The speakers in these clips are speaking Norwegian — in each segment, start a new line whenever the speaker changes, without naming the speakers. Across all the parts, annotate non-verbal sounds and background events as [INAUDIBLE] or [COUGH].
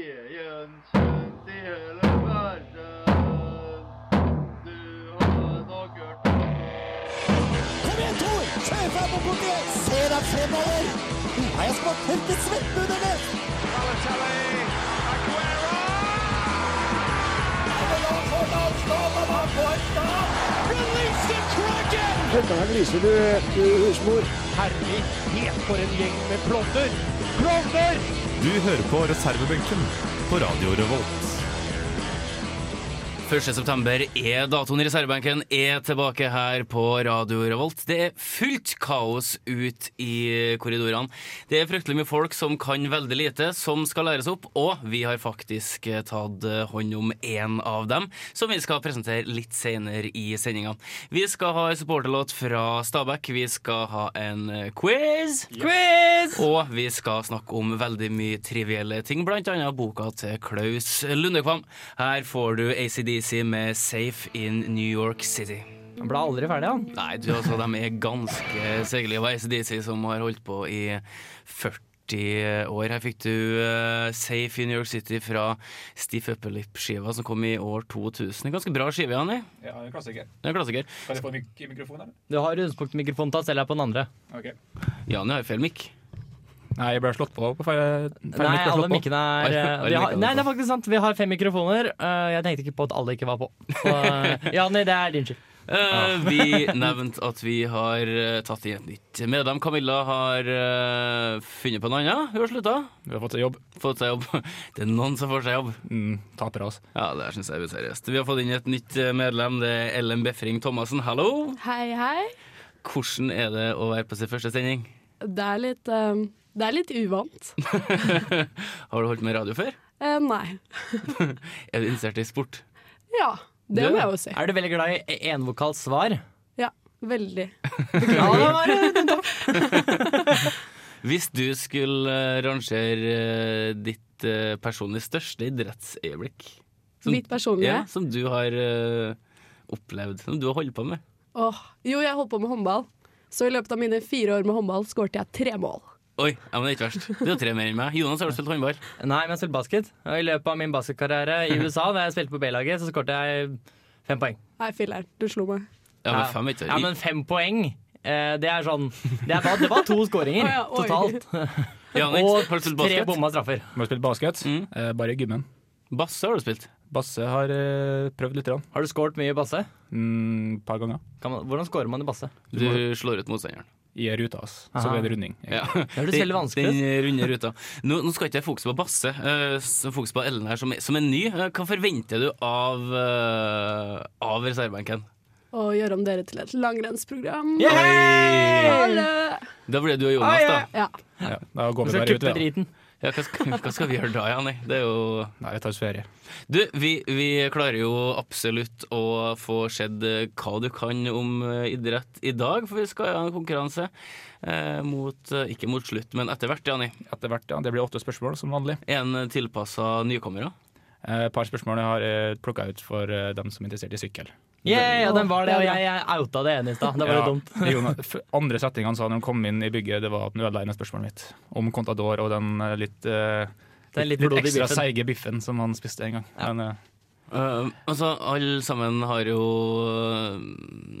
Veden kjent i hele verden. Du har nok hørt om
Kom igjen, Tor! Kjør fram og bort igjen! Se deg fremover! Nå har jeg smakt tørket svette under det!
Du hører på reservebenken på Radio Revolt.
1. september er datoen i reservebenken, er tilbake her på Radio Revolt. Det er fullt kaos ut i korridorene. Det er fryktelig mye folk som kan veldig lite, som skal læres opp, og vi har faktisk eh, tatt eh, hånd om én av dem, som vi skal presentere litt senere i sendinga. Vi skal ha en supporterlåt fra Stabæk, vi skal ha en eh, quiz. Og vi skal snakke om veldig mye trivielle ting, blant annet boka til Klaus Lundekvam. Her får du ACDC med 'Safe in New York City'.
Han ble aldri ferdig, han.
Nei, du, altså, de er ganske seiglige. Og ACDC som har holdt på i 40 år. Her fikk du eh, 'Safe in New York City' fra Stiff Upper Lip-skiva som kom i år 2000. En Ganske bra skive, Anni.
Ja, en klassiker.
Det er en klassiker.
Kan jeg få en mik mikrofon, eller?
Du har rundspunktmikrofonen tatt, selv er på den andre.
Ok.
Janni har feil mikk.
Nei, jeg ble slått på. på feil, feil
Nei,
mikk ble
alle
slått på.
mikkene er
Alle-
eh,
alle
vi har,
mikkene er
Nei,
på.
det er faktisk sant. Vi har fem mikrofoner. Eh, Jeg tenkte ikke på at alle ikke var på. Så, eh, Jani, det er din skyld.
Ah.
Eh,
[LAUGHS]
vi nevnte at vi har eh, tatt inn et nytt medlem. Camilla har eh, funnet på en annen. Hun har slutta.
Vi har fått jobb.
Fått seg jobb. [LAUGHS] Det er noen som får seg jobb.
Mm, taper oss.
Ja, det her synes jeg er useriøst. Vi har fått inn et nytt eh, medlem. Det er Ellen Befring Thomassen. Hallo!
Hei, hei.
Hvordan er det å være på sin første sending?
Det er litt, eh, det er litt
[LAUGHS]
uvant.
Har du holdt med radio før?
Eh, nei.
Er du interessert i sport?
Ja, det
Det-
må jeg jo si.
Er du veldig glad i envokals svar?
Ja, veldig.
Ja, det var det.
Hvis du skulle eh, rangere eh, ditt eh, personlig største idrettsøyeblikk som-
Mitt personlige.
Ja, som du har eh, opplevd, som du har holdt på med.
Åh. Jo, jeg holdt på med håndball. Så i løpet av mine fire år med håndball skårte jeg tre mål.
Oi, ja, men det er ikke verst. Du har tre mer enn meg. Jonas, har du spilt håndball?
Nei, men jeg spilte basket. Og I løpet av min basketkarriere [LAUGHS] i USA, da jeg spilte på B-laget, så skåret jeg fem poeng.
Nei, filler'n, du slo meg.
Ja, men fem, ikke
Ja, men fem poeng, eh, det er sånn Det, er, bare- det var to [LAUGHS] skåringer
Å ja, oi.
totalt.
Janik,
Og
har du spilt
tre
basket?
bomma straffer.
Må spille basket.
Mm.
Eh, bare i gymmen.
Basse har du spilt.
Basse har eh, prøvd litt. grann.
Har du skåret mye i basse?
Mm, par ganger.
Kan man, hvordan scorer man i basse?
Du slår ut motstanderen.
I ruta, ass. Så
Aha.
ble det runding.
Ja.
Det høres veldig vanskelig ut.
Den runde ruta. Nå, nå skal ikke jeg fokusere på Basse, eh, så fokus på Ellen her som, er- som er ny. Eh, Hva forventer du av, eh, av reservebenken?
Og gjøre om dere til et langrennsprogram.
Oi!
Alle-
Da blir det du og Jonas, da.
Ja.
Ja, da går
Du
vi
skal
bare ut.
kuppe
Ja.
driten.
Ja, hva, skal, hva skal vi gjøre da, Janni? Det er jo
Nei, jeg tar oss ferie.
Du, vi, vi klarer jo absolutt å få sett eh, hva du kan om eh, idrett i dag, for vi skal ha en konkurranse eh, mot eh, Ikke mot slutt, men etter hvert, Janni.
Etter hvert, ja. Det blir åtte spørsmål, som vanlig.
En tilpassa nykommere.
Eh, Et par spørsmål jeg har eh, plukka ut for eh, dem som er interessert i sykkel.
Yeah, ja, den var det, og
Det er bra.
jeg, jeg outa det ene i stad. Det var jo
Ja,
dumt.
[LAUGHS] Jonas- f- andre setningen han sa når han kom inn i bygget, det var at han ødela ene spørsmålet mitt. Om Contador og den eh, litt, eh,
Den litt
litt,
blodige
ekstra
biffen.
seige biffen som han spiste en gang. Men, eh,
Eh, altså, alle sammen har jo eh,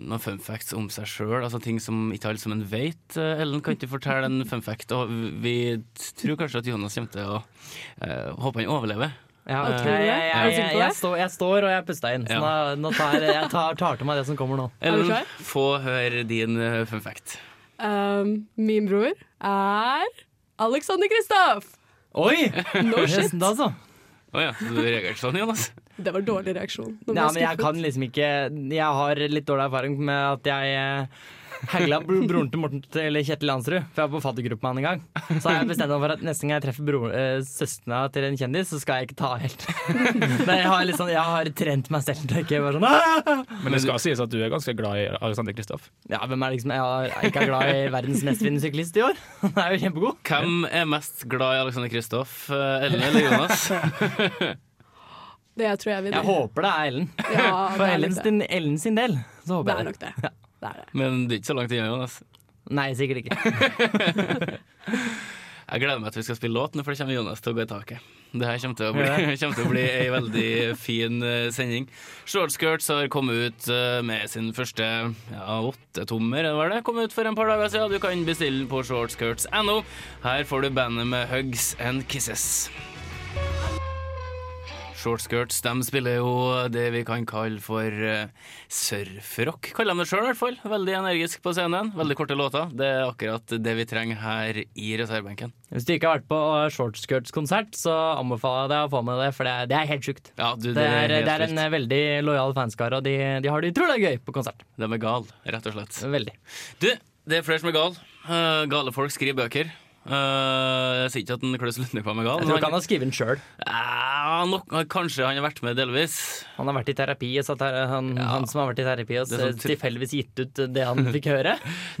noen fun facts om seg sjøl, altså ting som ikke alle sammen vet. Eh, Ellen, kan ikke du fortelle en fun fact? Og vi tror kanskje at Jonas kommer til å eh, Håper han overlever.
Ja,
Ok,
Eh, jeg, jeg,
er du
jeg,
sikker på
jeg,
det?
står, jeg står og jeg pusta inn. Så nå,
Ja.
nå tar, jeg tar, tar til meg det som kommer nå.
Er du
Ellen,
klar?
få høre din eh, fun fact.
Um, min bror er Alexander Kristoff!
Oi! [LAUGHS]
No shit.
Da, altså. så.
Å ja, så du reagerte sånn, Jonas?
Det var dårlig reaksjon. Nå ble
Ja, men jeg
skuffet.
kan liksom ikke Jeg har litt dårlig erfaring med at jeg eh, hagla bro- broren til Morten til Kjetil Landsrud, for jeg var på faddergruppe med han en gang. Så har jeg bestemt meg for at neste gang jeg treffer bror, eh, søstera til en kjendis, så skal jeg ikke ta helt. [LAUGHS] Men jeg har, litt sånn- jeg har trent meg selv til å ikke være sånn «Ah!»
men det skal sies at du er ganske glad i Alexander Kristoff.
Ja, hvem er det liksom Jeg har- ikke er glad i verdens mestvinnende syklist i år. [LAUGHS] Han er jo kjempegod.
Hvem er mest glad i Alexander Kristoff? eh, Ellen eller Jonas?
[LAUGHS] Det tror jeg vil
Jeg håper det er Ellen.
Ja,
For
det er
Ellen
nok det.
sin, Ellen sin del, så
Det
håper
er
jeg det.
nok det. det, er det.
Men det er ikke så langt unna, Jonas.
Nei, sikkert ikke.
Jeg gleder meg til vi skal spille låt, nå, for det kommer Jonas til å gå i taket. Det her kommer til å bli, [LAUGHS] kommer til å bli ei veldig fin eh, sending. Shortskirts har kommet ut eh, med sin første ja, åttetommer, eller var det? Kom ut for en par dager siden. Du kan bestille den på shortskirts.no. Her får du bandet med Hugs and Kisses. Shortskirts de spiller jo det vi kan kalle for eh, surfrock, kaller de det sjøl i hvert fall. Veldig energisk på scenen. Veldig korte låter. Det er akkurat det vi trenger her i reservebenken.
Hvis du ikke har vært på Shortskirts-konsert, så anbefaler jeg deg å få med det, for det er, det er helt sjukt.
Ja, du,
Det er,
helt
det er en eh,
vilt.
veldig lojal fanskare, og de, de har det utrolig gøy på konsert.
De er gale, rett og slett.
Veldig.
Du, det er flere som er gale. Eh, gale folk skriver bøker. Eh, jeg sier ikke at en Klaus Lundekvam er gal.
Jeg tror
men
ikke han
han-
har skrevet den sjøl.
Eh, nok- Kanskje han har vært med delvis. [LAUGHS]
Han har vært i terapi, og så at han, han som har vært i terapi, og
Det
så
er sånn tr-
tilfeldigvis gitt ut det han fikk høre.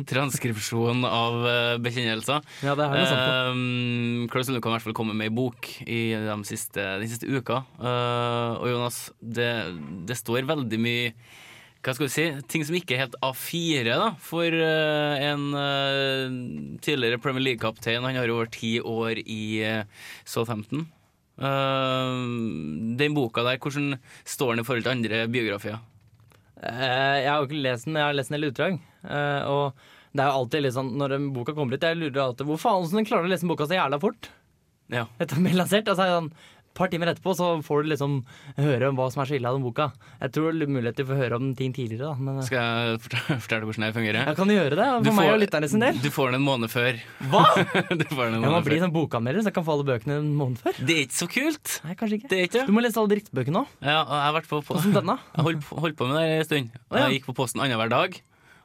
Transkripsjon av eh, bekjennelser.
Ja, det er noe sånt. da.
Um, Klaus Lundekvam kan i hvert fall komme med i bok i de siste, den siste uka. Eh, og Jonas, det, det står veldig mye hva skal vi si, ting som ikke er helt A4 da, for eh, en eh, tidligere Premier League-kaptein. Han har jo over ti år i eh, Southampton. Eh, den boka der, hvordan står den i forhold til andre biografier?
Eh, Jeg har jo ikke lest den, men jeg har lest en del utdrag. Eh, Og det er jo alltid litt sånn, når en boka kommer ut, jeg lurer alltid hvor faen hvordan klarer du å lese den boka så jævla fort?
Ja.
Etter å bli lansert, altså sånn, et par timer etterpå så får du liksom høre om hva som er så ille av den boka. Jeg tror det er mulighet til å få høre om ting tidligere, da. Men eh,
Skal jeg fortelle, fortelle hvordan det fungerer?
jeg kan gjøre det, for
Du
meg
får-
og lytterne sin del.
Du får den en måned før.
Hva?!
[LAUGHS] du får den en
Jeg må
måned
bli
før.
sånn bokanmelder, så jeg kan få alle bøkene en måned før.
Det er ikke så kult.
Nei, kanskje ikke.
Det er ikke
Du må lese alle drittbøkene òg.
Ja, og jeg har vært på, på
[LAUGHS] Åssen denne?
Jeg holdt, på- holdt på med det her en stund.
Å, ja.
Jeg gikk på posten annenhver dag.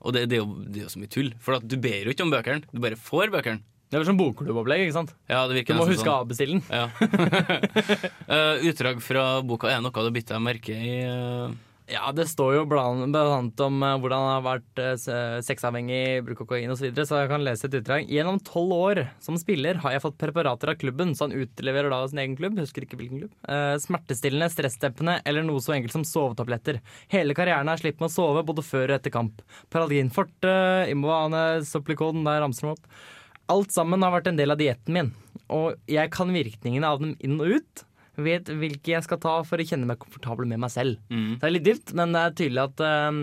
Og det, det, er jo, det er jo så mye tull. For at du ber jo ikke om bøkene, du bare får bøkene.
Det er sånn bokklubbopplegg, ikke sant.
Ja, det
Du
virker
må
nesten
huske å avbestille den.
sånn. Ja. [LAUGHS] Eh, utdrag fra boka er det noe du bytter merke i eh,
Ja, det står jo blant, blant annet om eh, hvordan han har vært eh, se- sexavhengig, bruk kokain osv., så, videre, så jeg kan lese et utdrag. Gjennom tolv år som spiller har jeg fått preparater av klubben, så han utleverer da sin egen klubb, husker ikke hvilken klubb. Eh, smertestillende, stressdempende eller noe så enkelt som sovetabletter. Hele karrieren har jeg slitt med å sove både før og etter kamp. Paradin forte, Imovane, Soplicon, der ramser de opp. Alt sammen har vært en del av dietten min, og jeg kan virkningene av dem inn og ut. Vet hvilke jeg skal ta for å kjenne meg komfortabel med meg selv. Så Det er litt dypt, men det er tydelig at eh,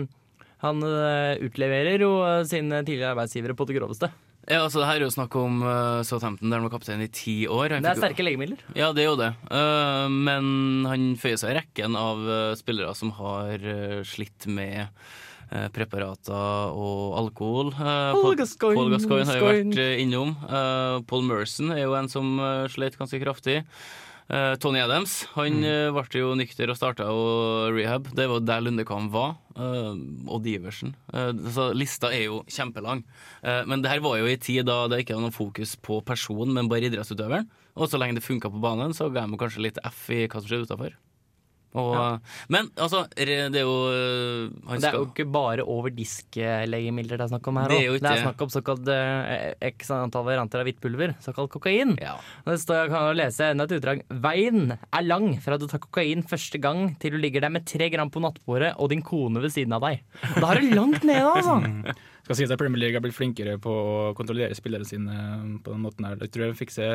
han eh, utleverer jo eh, sine tidligere arbeidsgivere på det groveste.
ja, altså, det her er jo snakk om uh, Southampton, der han var kaptein i ti år. Han
Det er
fikk jo-
sterke legemidler.
Ja, det er jo det. Eh, men han føyer seg i rekken av eh, spillere som har eh, slitt med eh, preparater og alkohol. Eh,
Paul
Paul-
Gascoigne,
Paul Gascoigne har jo
Gascoigne.
vært eh, innom. Eh, Paul Merson er jo en som eh, slet ganske kraftig. Eh, Tony Adams han
Mm.
eh, ble jo nykter og starta rehab. Det var der Lundekvam var. eh, og Diversen. Eh, så lista er jo kjempelang. Eh, men det her var jo i tid da det ikke var noe fokus på personen, men bare idrettsutøveren. Og så lenge det funka på banen, så ga jeg meg kanskje litt F i hva som skjedde utafor. Men altså, re- det er jo eh, han
Det er jo
skal,
ikke bare over disk-legemidler det er snakk om her
Det er
også.
jo ikke
Det er
det.
snakk om såkalt eh, x antall varianter av hvitt pulver, såkalt kokain.
Ja.
Og Det står, jeg kan jo lese enda et utdrag. Veien er lang fra du tar kokain første gang til du ligger der med tre gram på nattbordet og din kone ved siden av deg. Da er det langt nede, altså!
[LAUGHS]
Skal sies at Premier League har blitt flinkere på å kontrollere spillerne sine eh, på den måten her. Jeg tror jeg fikk, se,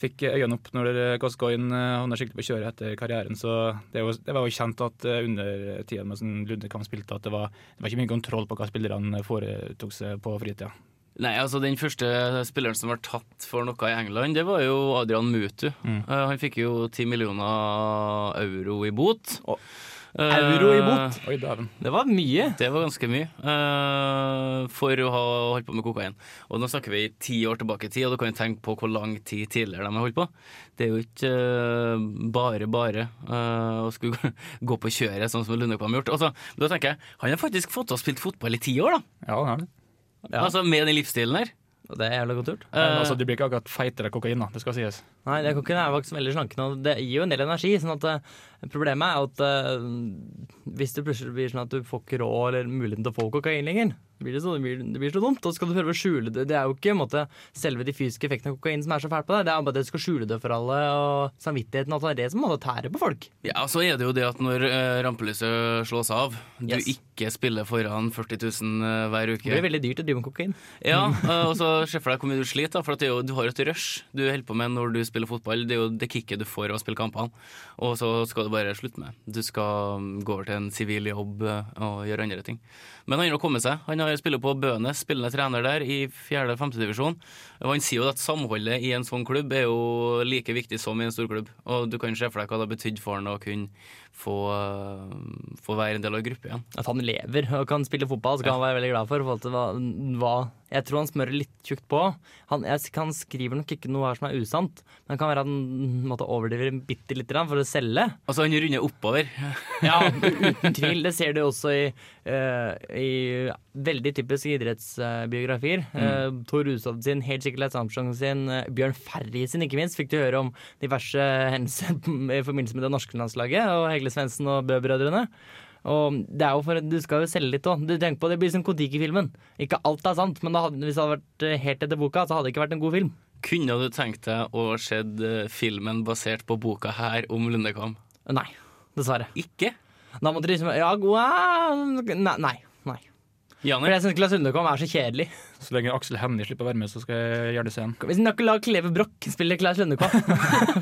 fikk øynene opp når Gascoigne eh, havna skikkelig på kjøret etter karrieren. Så det, er jo- det var jo kjent at eh, under tiden med sånn Lundekamp spilte, at det var, det var ikke mye kontroll på hva spillerne foretok seg på fritida.
Nei, altså Den første spilleren som var tatt for noe i England, det var jo Adrian Mutu.
Mm.
Eh, han fikk jo 10 millioner euro i bot.
Å,
Eh,
euro i bot?
Oi, dæven.
Det var mye.
Det var ganske mye eh, for å ha holdt på med kokain. Og nå snakker vi ti år tilbake i tid, og du kan jo tenke på hvor lang tid tidligere de har holdt på. Det er jo ikke eh, bare bare eh, å skulle gå på kjøret, sånn som Lundekvam har gjort. Altså, da tenker jeg, Han har faktisk fått til å spille fotball i ti år, da!
Ja, han har det.
Ja.
Altså Med den livsstilen her.
Og Det er jævla godt gjort.
Men
Eh,
altså, du blir ikke akkurat feitere av kokain, da. Det skal sies.
Nei, det er kokken er jo ikke så veldig slankende, og det gir jo en del energi. sånn at eh, Problemet er jo at eh, hvis det plutselig blir sånn at du får ikke råd eller muligheten til å få kokain lenger, blir det sånn, det blir, det blir så dumt. Og så skal du prøve å skjule det. Det er jo ikke en måte, selve de fysiske effektene av kokain som er så fælt på deg, det er bare at du skal skjule det for alle, og samvittigheten og alt det der, det som måtte tære på folk.
Ja, så er det jo det at når eh, rampelyset slås av, du
Yes.
ikke spiller foran 40 000 eh, hver
Det blir
uke.
veldig dyrt å drive med kokain.
Ja, eh, og så se for deg hvor mye du sliter, da, for at det er jo, du har et rush du holder på med når du spiller fotball. Det er jo det kicket du får av å spille kampene, og så skal du bare slutte med. Du skal mm, gå over til en sivil jobb eh, og gjøre andre ting. Men han har kommet seg. Han har spiller på Bønes, spillende trener der i fjerde- og femtedivisjon. Og han sier jo at samholdet i en sånn klubb er jo like viktig som i en stor klubb. Og du kan se for deg hva det har betydd for han å kunne få, eh, få være en del av gruppa igjen.
At han lever og kan spille fotball, skal han være veldig glad for. i forhold til hva, hva Jeg tror han smører litt tjukt på. Han, jeg, han skriver nok ikke noe her som er usant, men det kan være at han måtte overdrive bitte lite grann for å selge.
Altså, han runder oppover.
Ja, uten tvil. Det ser du også i, eh, i veldig typiske idrettsbiografier. Mm. Tor Hushovd sin, helt sikkert Leif Armstrong sin, eh, Bjørn Ferry sin, ikke minst. Fikk du høre om diverse hendelser [LAUGHS] i forbindelse med det norske landslaget og Hegle Svendsen og Bø-brødrene. Og det er jo for, Du skal jo selge litt òg. Tenk på det blir som Kon-Tiki-filmen. Ikke alt er sant, men da hadde, hvis det hadde vært eh, helt etter boka, så hadde det ikke vært en god film.
Kunne du tenkt deg å se filmen basert på boka her om Lundekam?
Nei, dessverre.
Ikke?
Da måtte de liksom Ja, wow. Nei. nei, nei. For
Janer?
jeg syns Klaus Sundekvam er så kjedelig.
Så lenge Aksel Hennie slipper å være med, så skal jeg gjerne se han.
Hvis dere ikke lar Kleve Broch spille Klaus
[LAUGHS]
Lundekvam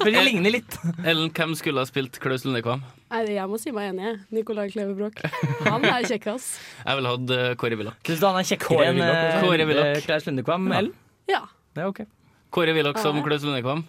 For de ligner litt.
Ellen, hvem skulle ha spilt Klaus Lundekvam?
Nei, jeg må si meg enig, jeg. Nicolai Kleve Broch. Han er kjekkas.
Jeg ville hatt eh, Kåre Willoch.
Syns du han er kjekkere enn eh,
også. Kåre Willoch.
eh, Klaus Lundekvam, Ellen?
Ja.
Det er ok.
Kåre Willoch som Klaus Lundekvam.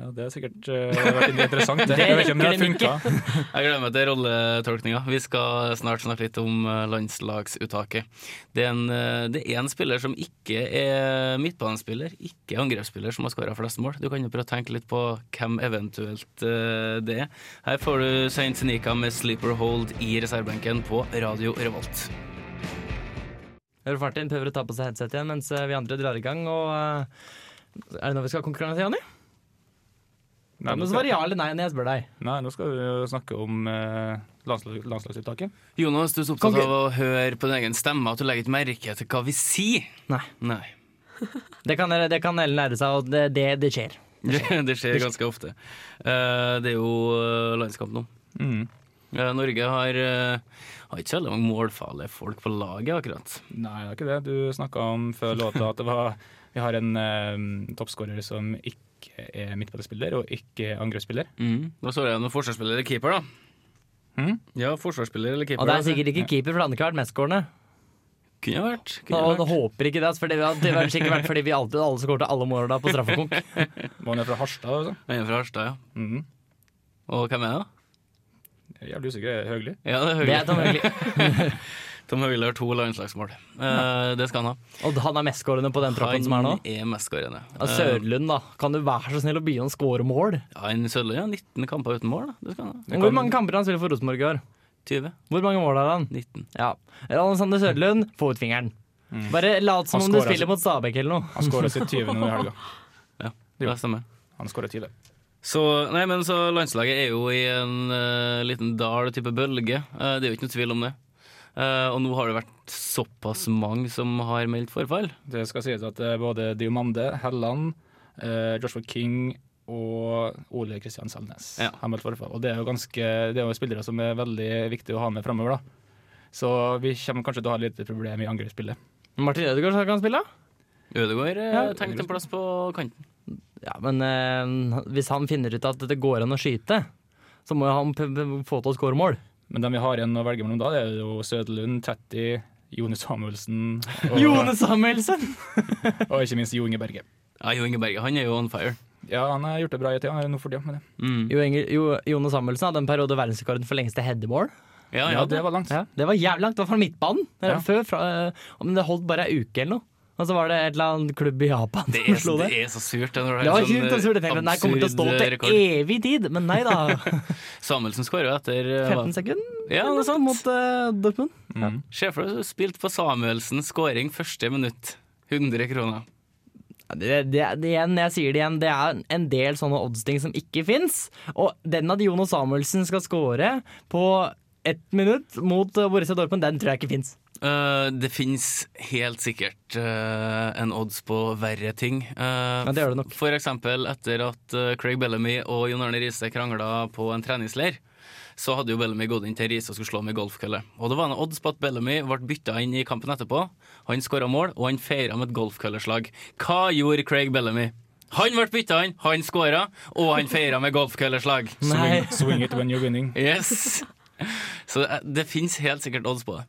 Ja, Det har sikkert eh, vært [LAUGHS] litt interessant. Det.
Det
Jeg vet ikke om det har
rekker
funka.
Jeg gleder meg til rolletolkninga. Vi skal snart snakke litt om eh, landslagsuttaket. Det er en, eh, det er en spiller som ikke er midtbanespiller, ikke angrepsspiller, som har skåra flest mål. Du kan jo prøve å tenke litt på hvem eventuelt eh, det er. Her får du Saint Senica med 'Sleeper Hold' i reservebenken på Radio Revolt.
Rolf Martin prøver å ta på seg headset igjen mens eh, vi andre drar i gang. Og eh, Er det nå vi skal konkurrere, Janni?
Nei,
Da må
nå
du
skal,
svare ja eller nei når jeg spør deg.
nei, nå skal vi jo snakke om eh, landslag, landslagsuttaket.
Jonas, du er så opptatt
Konge.
av å høre på din egen stemme at du legger ikke merke til hva vi sier.
Nei.
Nei.
Det kan, det kan Ellen lære seg, og det, det, det skjer.
Det, [LAUGHS] det skjer ganske ofte. Eh, det er jo eh, landskamp nå.
Mm.
Eh, Norge har, eh, har ikke så veldig mange målfarlige folk på laget, akkurat.
Nei, det er ikke det. Du snakka om før låta at det var, [LAUGHS] vi har en uh, toppskårer som ikke er midtbanespiller og ikke angrepsspiller.
Mm.
Da står det igjen med forsvarsspiller eller keeper, da.
Mhm.
Ja, forsvarsspiller eller keeper.
Og Mm. det er
altså.
sikkert ikke keeper, for det hadde ikke vært mestskårende.
Kunne vært. Kunne
Og
vært.
håper ikke det, altså, for det hadde det hadde sikkert vært fordi vi alltid alle skårte alle målene
[LAUGHS]
på straffekonk.
Var han er fra Harstad? Altså.
En fra Harstad, ja.
Mhm.
Og hvem er det? da?
Jeg er Jævlig usikker. Høgli.
Ja, det er
Det
Høgli.
er Tom Høgli.
Tom Høgli har to landslagsmål. Eh, det skal han ha.
Og han er mestskårende på den troppen som er nå?
Han er mestskårende.
Ja, Sørlund, da. Kan du være så snill å begynne å score mål?
Ja, en Sørlund Eh, har 19 kamper uten mål. da. Det skal han ha.
Hvor mange kamper har han spiller for Rosenborg i år?
20?
Hvor mange mål har han?
19.
Ja. Alexander Sørlund, få ut fingeren. Bare lat som
Han
om du
scorer,
spiller mot Stabæk eller noe.
Han skåra sitt 20. nå i helga.
Ja,
Jo.
det stemmer.
Han skåra 20.
Så, nei, men så landslaget er jo i en eh, liten dal type bølge. Eh, det er jo ikke noe tvil om det. Eh, og nå har det vært såpass mange som har meldt forfall.
Det skal sies at eh, både Diomande, Helland, eh, Joshua King og Ole Kristian Selnes
Ja.
har meldt forfall. Og det er jo ganske Det er jo spillere som er veldig viktige å ha med framover, da. Så vi kommer kanskje til å ha litt problem i angrepsspillet.
Martin Ødegaard skal ikke han spille? da?
Ødegaard ja, tenkte en plass på kanten.
Ja, men eh, hvis han finner ut at det går an å skyte, så må jo han p p få til å score mål.
Men dem vi har igjen å velge mellom da, det er jo Søderlund, Tetti, Jone Samuelsen og,
[LAUGHS] Jone Samuelsen!
og ikke minst Jo Inge Berge.
Ja, Jo Inge Berge, han er jo on fire.
Ja, han har gjort det bra i tida han er nå for tida. men det-
Jo, Inge, jo, Jone Samuelsen hadde en periode verdensrekorden for lengste headermål.
Ja,
Ja,
ja,
det var langt.
Det var jævlig langt, det var fra midtbanen. Det var
Ja.
Før, fra, eh, men det holdt bare ei uke eller noe. Og så var det et eller annet klubb i Japan
det,
som
er,
slo det.
det er så surt. Det, når det er
Det var
en sånn,
sjukt absurd. Jeg tenkte den her kommer til å stå
absurd eh,
til
rekord.
evig tid, men nei
[LAUGHS]
da. [LAUGHS]
Samuelsen skåra etter eh,
15 sekunder
Ja, det er sant.
mot eh, Dortmund.
Se for deg du spilte på Samuelsens skåring første minutt. 100 kroner.
Ja, Det, det, det, igjen, jeg sier det igjen, det er en del sånne oddsting som ikke fins. Og den at Jonas Samuelsen skal score på ett minutt mot eh, Borussia Dortmund, den tror jeg ikke fins.
Eh, det fins helt sikkert eh, en odds på verre ting. Eh,
Ja, det gjør det nok.
For eksempel etter at eh, Craig Bellamy og Jon Arne Riise krangla på en treningsleir. Så hadde jo Bellamy gått inn til Riise og skulle slå med golfkølle. Og det var en odds på at Bellamy ble bytta inn i kampen etterpå. Han skåra mål, og han feira med et golfkølleslag. Hva gjorde Craig Bellamy? Han ble bytta inn, han skåra, og han feira med
[LAUGHS]
golfkølleslag.
Nei.
Swing, [LAUGHS] swing it when you're winning.
Yes! Så det, det fins helt sikkert odds på det.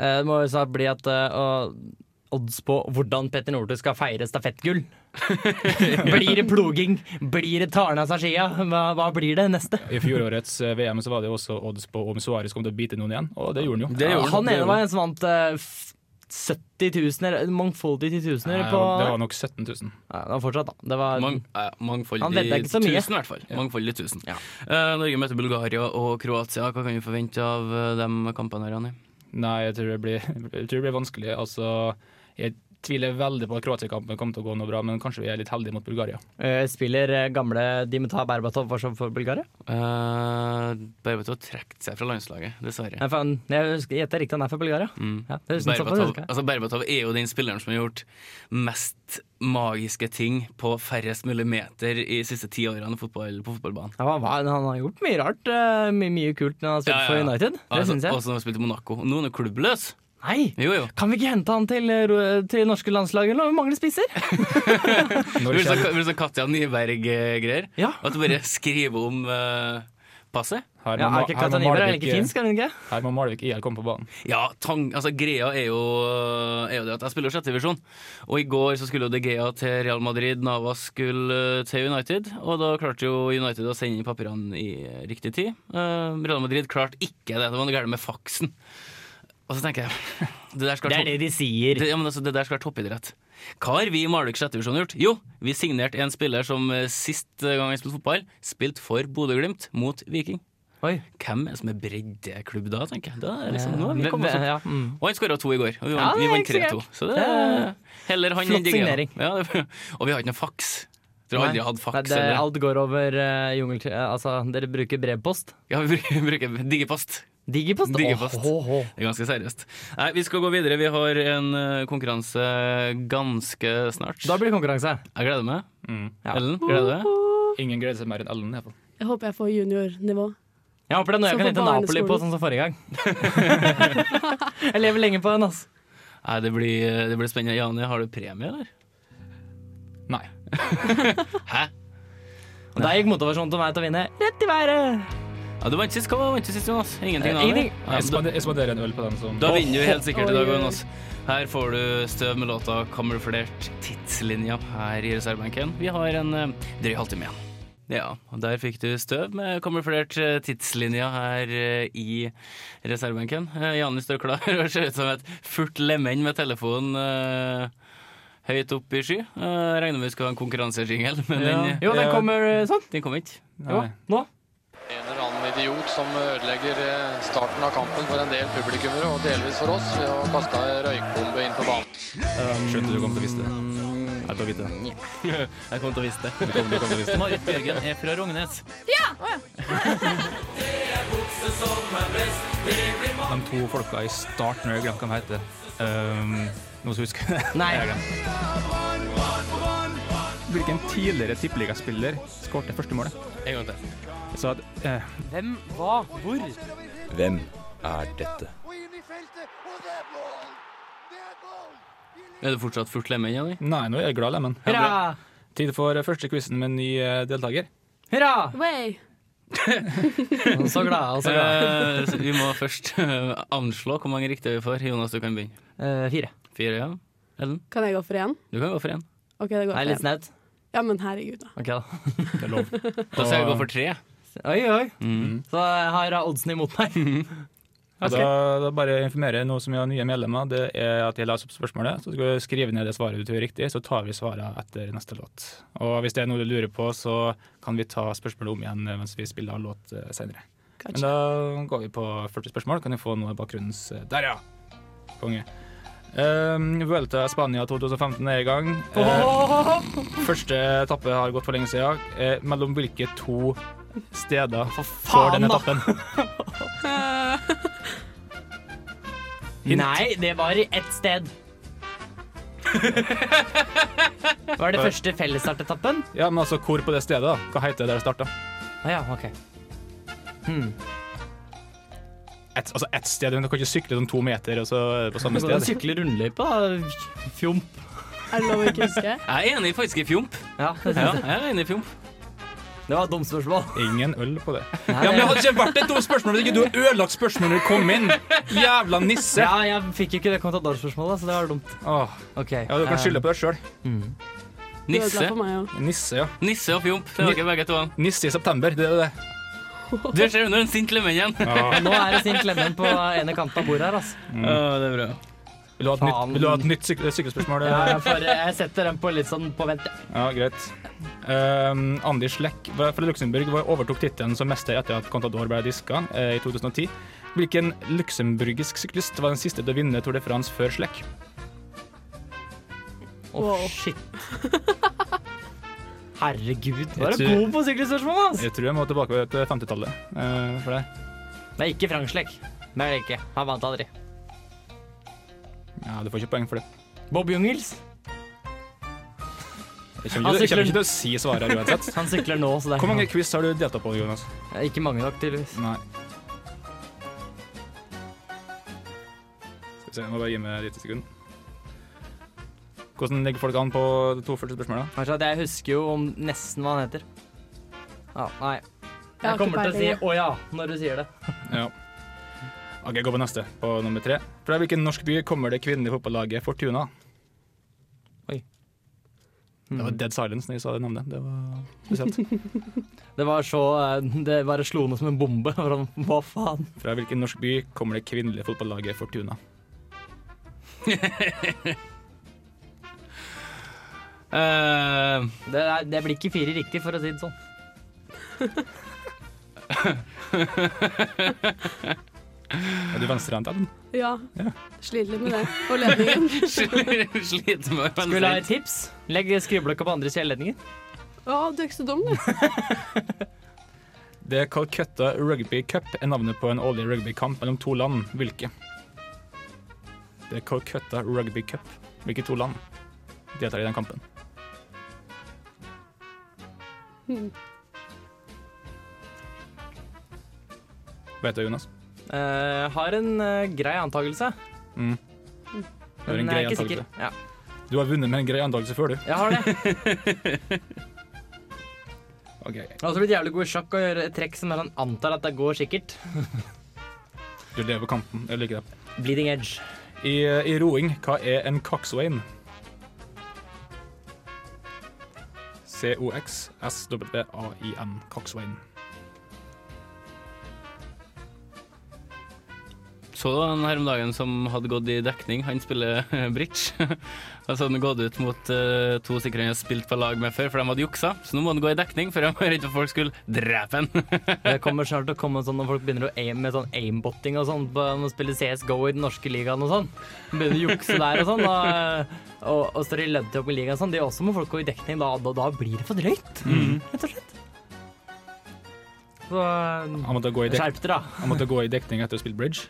Eh, Det må jo snart bli at eh, å- odds på hvordan Petter Northug skal feire stafettgull.
[LAUGHS]
blir det ploging? Blir det taren av seg skia? Hva, hva blir det neste?
I fjorårets eh, VM så var det jo også odds på om Suárez kom til å bite noen igjen, og det gjorde han jo.
Det gjorde
han
det
ene
gjorde
var en som vant eh, f- 70 000, eller mangfoldige 10 000
Nei,
på
det var nok 17 000.
Nei, det var fortsatt, da. Det var
Mang, eh, mangfoldig
Han vedda ikke så mye.
tusen, i hvert fall. Mangfoldig tusen. Eh, Norge møter Bulgaria og Kroatia. Hva kan vi forvente av eh, de kampene? her, Ronny?
Nei, jeg tror det blir, [LAUGHS] jeg tror det blir vanskelig. Altså, jeg tviler veldig på at Kroatia-kampen kommer til å gå noe bra, men kanskje vi er litt heldige mot
[LAUGHS]
Bulgaria.
eh, spiller eh, gamle Dimitar Berbatov for, for Bulgaria.
Eh, Berbatov har trukket seg fra landslaget, dessverre.
Nei, faen, jeg husker- jeg gjetter riktig han er fra Bulgaria.
Mm.
Ja, det husker, såpass
Berbatov,
husker jeg.
altså Berbatov er jo den spilleren som har gjort mest magiske ting på færrest mulig meter i de siste ti årene i fotball, på fotballbanen.
Ja, han, var- han har gjort mye rart. eh, mye, mye kult når han har spilt
Ja, ja,
for
ja.
United. Det
Altså,
syns jeg.
Også når han spilte i Monaco. Nå er han jo klubbløs!
Nei!
Jo, jo.
Kan vi ikke hente han til, eh, ro- til norske landslaget nå? Vi mangler spisser.
Når
Det blir
det skjer,
sånn- det blir sånn Katja Nyberg-greier.
Ja.
At du bare skriver om eh, passet.
her må,
Ja, er
Ma-
ikke
her, må
Kataniber er
Malvik,
ikke finsk, er hun ikke?
her må Malvik IL komme på banen.
Ja, tang, altså greia er jo, er jo det at jeg spiller jo sjette divisjon. Og i går så skulle jo De Gea til Real Madrid, Navas skulle eh, til United. Og da klarte jo United å sende inn papirene i eh, riktig tid. Eh, Real Madrid klarte ikke det. Det var noe galt med faksen. Og så tenker jeg Det der skal
Det
være
er det de
Det,
sier.
ja, men altså, det der skal være toppidrett. Hva har vi i Malvik sjette divisjon gjort? Jo, vi signerte en spiller som eh, sist gang han spilte fotball, spilte for Bodø-Glimt mot Viking.
Oi.
Hvem er det som er breddeklubb da, tenker jeg. Da er det liksom, nå har vi
Hvem-
kommet oss opp.
hvem- ja, mm.
Og han skåra to i går, og vi
Ja,
vant,
det
vi
er
vant
ikke så
3-2. Så det
Det
er
er
heller han
flott
enn de greia.
signering.
Ja, det, og vi har ikke noe faks. Tror jeg aldri jeg hadde
Nei,
faks.
det,
eller.
alt går over eh, jungel... eh, Altså, dere bruker brevpost.
Ja, vi bruker, bruker digipost.
Digipost?
Digipost.
Åh, åh, åh.
Det er ganske seriøst. Nei, vi skal gå videre. Vi har en eh, konkurranse ganske snart.
Da blir det konkurranse.
Jeg gleder meg.
Ja.
Ellen, gleder du deg?
Ingen gleder seg mer enn Ellen. i hvert fall.
Jeg håper jeg får juniornivå.
Jeg håper det er noe jeg
Som
kan
på
hete Napoli på,
barneskolen.
sånn som forrige gang. [LAUGHS] jeg lever lenge på den, ass.
Nei, det blir, det blir spennende. Jani, har du premie, eller?
Nei.
Hæ?
Og der gikk motivasjonen til meg til å vinne rett i været.
Ja, du vant sist. Hva vant du sist, Jonas? Ingenting?
Eh,
av det?
ingenting.
Ja,
Jeg
da,
spande- jeg spanderer en øl på den som
da vinner du helt sikkert i dag,
Oi, oi.
Jonas. Her får du støv med låta 'Kamuflert tidslinja' her i reservebenken. Vi har en eh, drøy halvtime igjen. Ja, og der fikk du støv med kamuflert eh, tidslinja her eh, i reservebenken. Eh, Jani står klar [LAUGHS] og ser ut som et furt lemen med telefonen eh, høyt opp i sky. Eh, Regner med vi skal ha en konkurransejingle, men den,
Jo, den kommer eh, sånn.
den kom ikke.
Jo,
Nei.
nå.
En eller annen idiot som ødelegger eh, starten av kampen for en del publikummere, og delvis for oss, ved å kaste ei røykbombe inn på banen.
Skjønte du kom til å vise det. Jeg tar vite [LAUGHS] det.
Jeg kom til å vise det. Marit Bjørgen er fra Rognes.
De to folka i starten, jeg glemte hva de heter. Um, noen som husker [LAUGHS] det?
Nei.
Jeg har glemt. Hvilken tidligere tippeligaspiller skårte første målet?
En gang til.
Så at eh,
Hvem, hva, hvor?
Hvem er dette?
Er du fortsatt furt lemen, Jenny?
Nei, nå er jeg glad, Lemmen.
Hurra!
Tid for første quizen med en ny eh, deltaker.
Hurra!
[LAUGHS] Way.
Så glad, og så glad.
Eh, så vi må først eh, anslå hvor mange riktige vi får. Jonas, du kan begynne.
Eh, fire.
Fire, ja. Ellen,
Kan jeg gå for én?
du kan gå for én.
Ok, det går
Det er
for
litt
én.
snaut.
Ja, men herregud, da.
Ok, da.
Det er lov.
Da skal jeg gå for tre.
Oi, oi. Så jeg har oddsen imot meg.
Ja, Da, da bare informerer jeg nå som vi har nye medlemmer. Det er at jeg leser opp spørsmålet, så skal du skrive ned det svaret du tror er riktig, så tar vi svaret etter neste låt. Og hvis det er noe du lurer på, så kan vi ta spørsmålet om igjen mens vi spiller av låt eh, senere.
Gotcha.
Men da går vi på første spørsmål. Kan jeg få noe av bakgrunnens eh, Der, ja! Konge. Um, Vuelta Spania 2015 er i gang. Eh, første etappe har gått for lenge siden. Eh, mellom hvilke to steder går
faen,
den
da!
etappen?
Nei, det var i ett sted. Var det første fellesstartetappen?
Ja, men altså, hvor på det stedet, da? Hva heter det der det starta?
Å ja, OK.
Et, altså, ett sted. Du kan ikke sykle sånn to meter og så er det på samme
Du kan
sted.
sykle rundløype, da. Fjomp.
Er det lov å ikke huske?
[LAUGHS]
Jeg er enig faktisk i fjomp.
[LAUGHS]
Ja, det
Ja, jeg er enig i fjomp.
det var et dumt spørsmål.
Ingen øl på det.
Nei,
Ja, men Det hadde ikke vært et dumt spørsmål hvis ikke du hadde ødelagt spørsmålet når du kom inn. Jævla nisse.
ja, jeg fikk jo ikke det kontantspørsmålet, så det var dumt.
Åh,
Ok. eh,
ja, du kan skylde på deg sjøl.
Du ødela
Nisse.
for meg òg.
Nisse, ja.
Nisse og fjomp. Det er dere begge to. [LAUGHS]
Nisse i september, det er det.
Du ser under en sint lemenn igjen.
Nå er det sin klemmen på ene kanten av bordet her, altså.
det er bra.
Vil du ha et nytt, vil du ha et nytt syk syklespørsmål?
Ja, jeg, får, eh, jeg setter den på litt sånn på vent. jeg.
Ja, greit. Um, Andi Schleck var fra Luxembourg var- overtok tittelen som mester etter at Contador ble diska eh, i 2010. Hvilken luxemburgisk syklist var den siste til å vinne Tour de France før Schleck?
Å,
Wow. [LAUGHS]
shit. Herregud, var du
Jeg tror-
god på sykkelspørsmål, ass?
Jeg tror jeg må tilbake til 50-tallet eh, for det.
Det er ikke Frank Slekk. Det er det ikke. Han vant aldri.
Ja, du får ikke poeng for det.
Bob Jungels.
Jeg kommer
Han
ikke, jeg kommer
sykler-
ikke til å si svaret her uansett.
Han sykler nå, så det er
Hvor mange quiz har du deltatt på, Jonas?
Ikke mange nok, tydeligvis.
Nei. Skal vi se, jeg må bare gi meg et lite sekund. Hvordan ligger folk an på de to første spørsmålene?
Kanskje at jeg husker jo om nesten hva han heter. Ja, nei.
Jeg har
Jeg kommer til
ikke
å si
peiling.
'å ja' når du sier det.
Ja. Ok, gå på neste, på nummer tre. Fra hvilken norsk by kommer det kvinnelige fotballaget Fortuna?
Oi.
Det var dead silence når jeg sa det navnet. Det var spesielt.
Det var så eh, Det bare slo noe som en bombe. [LAUGHS] Hva faen?
Fra hvilken norsk by kommer det kvinnelige fotballaget Fortuna? Eh,
Det, er, det blir ikke fire riktig, for å si det sånn.
Er du venstrehendt, Adam?
Ja.
Ja.
Sliter litt med det. Og ledningen.
[LAUGHS]
[LAUGHS]
Sliter med
Vil du ha et
venstre.
tips? Legg skriveblokka på andre kjelledninger.
Å, du er ikke så dum, du.
Det er Calcutta Rugby Cup er navnet på en årlig rugbykamp mellom to land. Hvilke? Det er Calcutta Rugby Cup. Hvilke to land deltar i den kampen? Vet du, Jonas?
Eh, har en eh, grei antakelse.
Mm. Du har en
Men
grei
jeg er ikke sikker.
antakelse.
Ja,
Du har vunnet med en grei antakelse før, du.
jeg har det. [LAUGHS]
Ok,
Jeg har også blitt jævlig god i sjakk og gjøre et trekk som er sånn antar at det går sikkert.
Du lever kampen. Jeg liker det.
Bleeding edge.
I, eh, I roing, hva er en coxswain? C-O-X-S-W-A-I-N. Coxswain.
Så det var en her om dagen som hadde gått i dekning. Han spiller [LAUGHS] bridge. Og så hadde han gått ut mot eh, to stykker han hadde spilt på lag med før, for de hadde juksa. Så nå må han gå i dekning, for han [LAUGHS] var redd for at folk skulle drepe han. [LAUGHS]
Det kommer snart til å komme sånn når folk begynner å aim med sånn aimbotting og sånn. på- Når de spiller CSGO i den norske ligaen og sånn. Begynner å jukse der og sånn. Og, og, og står i lønntopp i ligaen og sånn. De også må folk gå i dekning. Da, da, da blir det for drøyt, rett og slett. Så eh,
Han måtte gå i, dek
skjerp dere, da.
han måtte gå i dekning etter å spille bridge.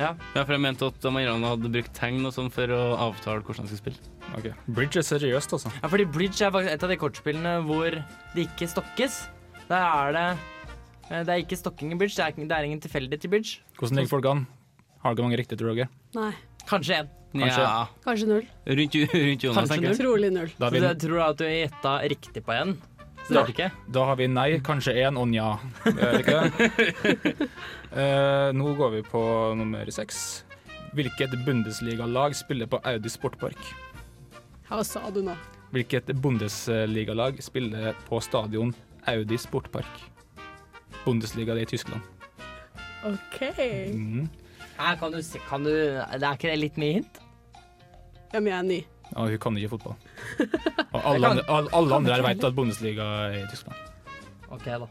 Ja, for jeg mente at de andre hadde brukt tegn og sånn for å avtale hvordan de skulle spille.
Ok. Bridge er seriøst, altså.
Ja, fordi bridge er faktisk et av de kortspillene hvor det ikke stokkes. Der er det eh, Det er ikke stokking i bridge, det er, ikke- det er ingen tilfeldighet i bridge.
Hvordan ligger folk an? Har dere mange riktige, tror dere?
Nei.
Kanskje én.
Kanskje.
Ja,
Kanskje null.
rundt, [LAUGHS] rundt Jonas,
Kanskje
tenker jeg.
Trolig
Da
null.
Så
har,
jeg
vi,
tror at du gjetta riktig på én. Så det er ikke.
da har vi nei, kanskje én og nja. Er det ikke det?
[LAUGHS]
Eh, nå går vi på nummer seks. Hvilket Bundesliga-lag spiller på Audi Sportpark?
Hva sa du nå?
Hvilket Bundesligalag spiller på stadion Audi Sportpark? Bundesliga det er i Tyskland.
OK.
Mm.
Her kan du, se- kan du Det er ikke det litt mye hint?
Ja, men jeg er ny.
Ja, hun kan ikke [LAUGHS] fotball. Og alle andre, alle, alle andre her vet at Bundesliga er i Tyskland.
OK, da.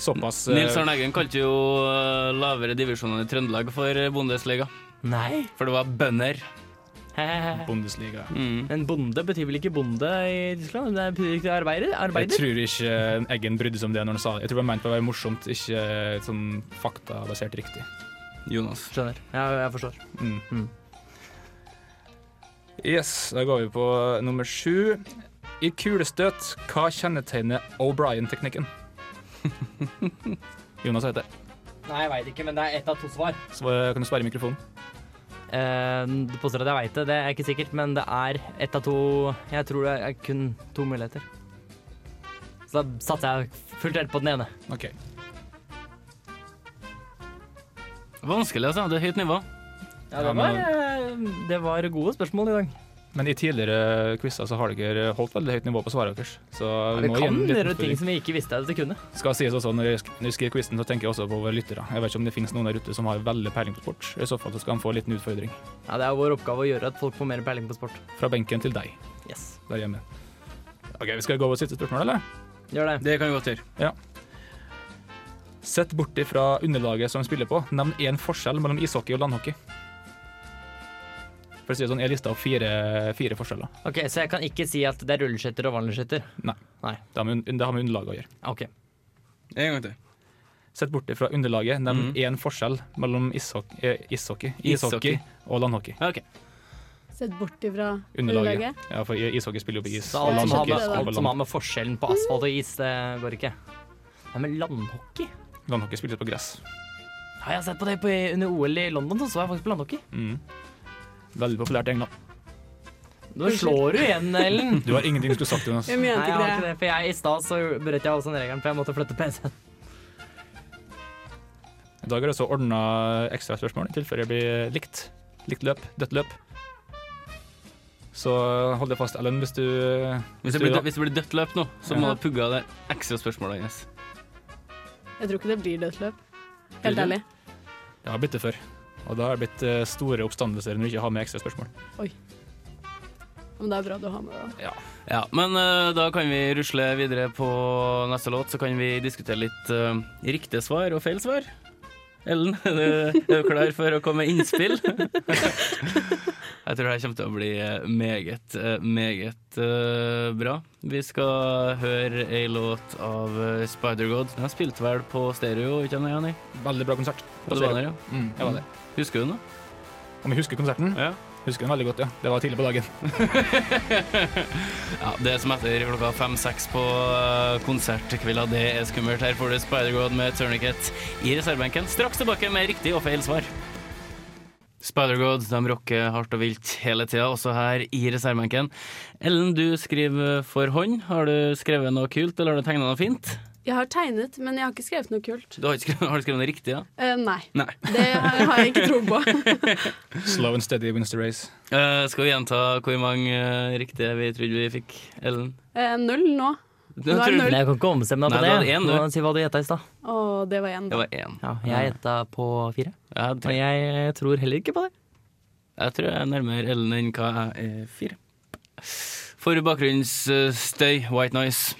Såpass eh,
Nils Arne Eggen kalte jo eh, lavere divisjonene i Trøndelag for eh, Bundesliga,
[LAUGHS] Nei.
for det var bønder.
Hehehe.
Bundesliga.
Mm.
Men bonde betyr vel ikke bonde i Tyskland? Det betyr ikke arbeider?
Jeg
arbeider?
tror ikke Eggen brydde seg om det når han sa det. Jeg tror det var ment å være morsomt, ikke sånn eh, faktabasert riktig.
Jonas.
Skjønner. Ja, jeg forstår.
Mhm. Yes, da går vi på nummer sju. I kulestøt, hva kjennetegner
[LAUGHS]
O'Brien-teknikken? Jonas heter det.
Nei, jeg veit ikke, men det er ett av to svar.
Svar- Kan du svare i mikrofonen?
Eh, du påstår at jeg veit det, det er ikke sikkert, men det er ett av to Jeg tror det er kun to muligheter. Så da satser jeg fullt helt på den ene.
OK.
Vanskelig, altså. Det er høyt nivå.
Ja, eh,
det var,
det var gode spørsmål i dag.
Men i tidligere quizer så har dere holdt veldig høyt nivå på svarene deres. Så vi
Vi
må gi
kan
en liten
gjøre ting
utfordring.
som vi ikke visste at vi kunne.
Skal sies også, når jeg sk- når jeg skriver quizen, så tenker jeg også på våre lyttere. Jeg vet ikke om det finnes noen der ute som har veldig peiling på sport. I så fall så skal han få en liten utfordring.
Ja, Det er vår oppgave å gjøre at folk får mer peiling på sport.
Fra benken til deg
Yes.
der hjemme. OK, vi skal gå på siste spørsmål, eller?
Gjør det.
Det kan vi godt gjøre.
Sett bort ifra underlaget som de spiller på, nevn én forskjell mellom ishockey og landhockey. For å si det sånn, jeg lista opp fire, fire forskjeller.
Ok, Så jeg kan ikke si at det er rulleskøyter og vanlige
Det har med, un- det har med underlaget å gjøre.
Ok.
En gang til.
Sett bort ifra underlaget, nevn
Mhm.
én forskjell mellom ishockey, eh, ishockey,
Ishockey.
Mm. ishockey og landhockey.
Ok.
Sett bort ifra
Underlaget. Ja, for i- ishockey spiller jo på is.
Så alt, som har,
landhockey
med,
spiller på
alt som
land.
har med forskjellen på asfalt og is, det går ikke. Nei, men landhockey?
Landhockey spilles på gress.
Har jeg sett på det på, under OL i London, så så jeg faktisk på landhockey.
Mhm. Veldig populært i England.
Nå slår du igjen, Ellen.
Du har ingenting du skulle sagt,
[LAUGHS]
Jonas.
Jeg
[LAUGHS] Nei,
mente
jeg har
ikke
ikke
det.
det, for jeg i stad så brøt jeg også den regelen, for jeg måtte flytte PC-en.
I dag er det også ordna ekstraspørsmål i tilfelle det blir likt. Likt løp, dødt løp. Så hold deg fast, Ellen, hvis du eh,
Hvis det
du-
blir, dø- hvis det blir dødt løp nå, så må
Ja.
du pugge av det ekstra spørsmålet hennes.
Jeg tror ikke det blir dødt løp.
Blir det?
Helt ærlig.
Jeg har blitt det før. Og da har det blitt eh, store oppstandelser når du ikke har med ekstra spørsmål.
Men det er bra du har med det.
Ja, men eh, da kan vi rusle videre på neste låt, så kan vi diskutere litt uh, riktige svar og feil svar. Ellen, [LAUGHS] er du, er du klar for å komme med [LAUGHS] innspill? Jeg tror det her kommer til å bli eh, meget, eh, meget eh, bra. Vi skal høre ei låt av eh, Spider-God. Den spilte vel på stereo, ikke sant, Jani?
Veldig bra konsert.
På Stavanger, ja.
Mm, jeg var det.
Husker du den, da?
Om jeg husker konserten?
Ja.
Husker den veldig godt, ja. Det var tidlig på dagen.
Ja, det som etter klokka fem-seks på eh, konsertkvelda, det er skummelt. Her får du Spider-God med Tourniquet i reservebenken. Straks tilbake med riktig og feil svar. Spider-God de rocker hardt og vilt hele tida, også her i reservebenken. Ellen, du skriver for hånd. Har du skrevet noe kult, eller har du tegna noe fint?
Jeg har tegnet, men jeg har ikke skrevet noe kult.
Du har, ikke skrevet, har du skrevet noe riktig, ja?
Eh, nei.
Nei.
[LAUGHS] Det har har jeg ikke tro på.
[LAUGHS] Slow and steady wins the race.
Eh, skal vi gjenta hvor mange eh, riktige vi trodde vi fikk, Ellen?
Eh, null nå.
Du,
Nå er det
tror-
null.
Men jeg kan ikke ombestemme meg på
Nei, du
det.
hadde én, du.
Nå Si hva du gjetta i stad.
Og det var én.
Det var én.
Ja, jeg gjetta på fire.
Jeg, hadde
Og
tre.
jeg eh, tror heller ikke på det.
Jeg tror jeg er nærmere Ellen enn hva jeg er fire. For bakgrunnsstøy, white noise.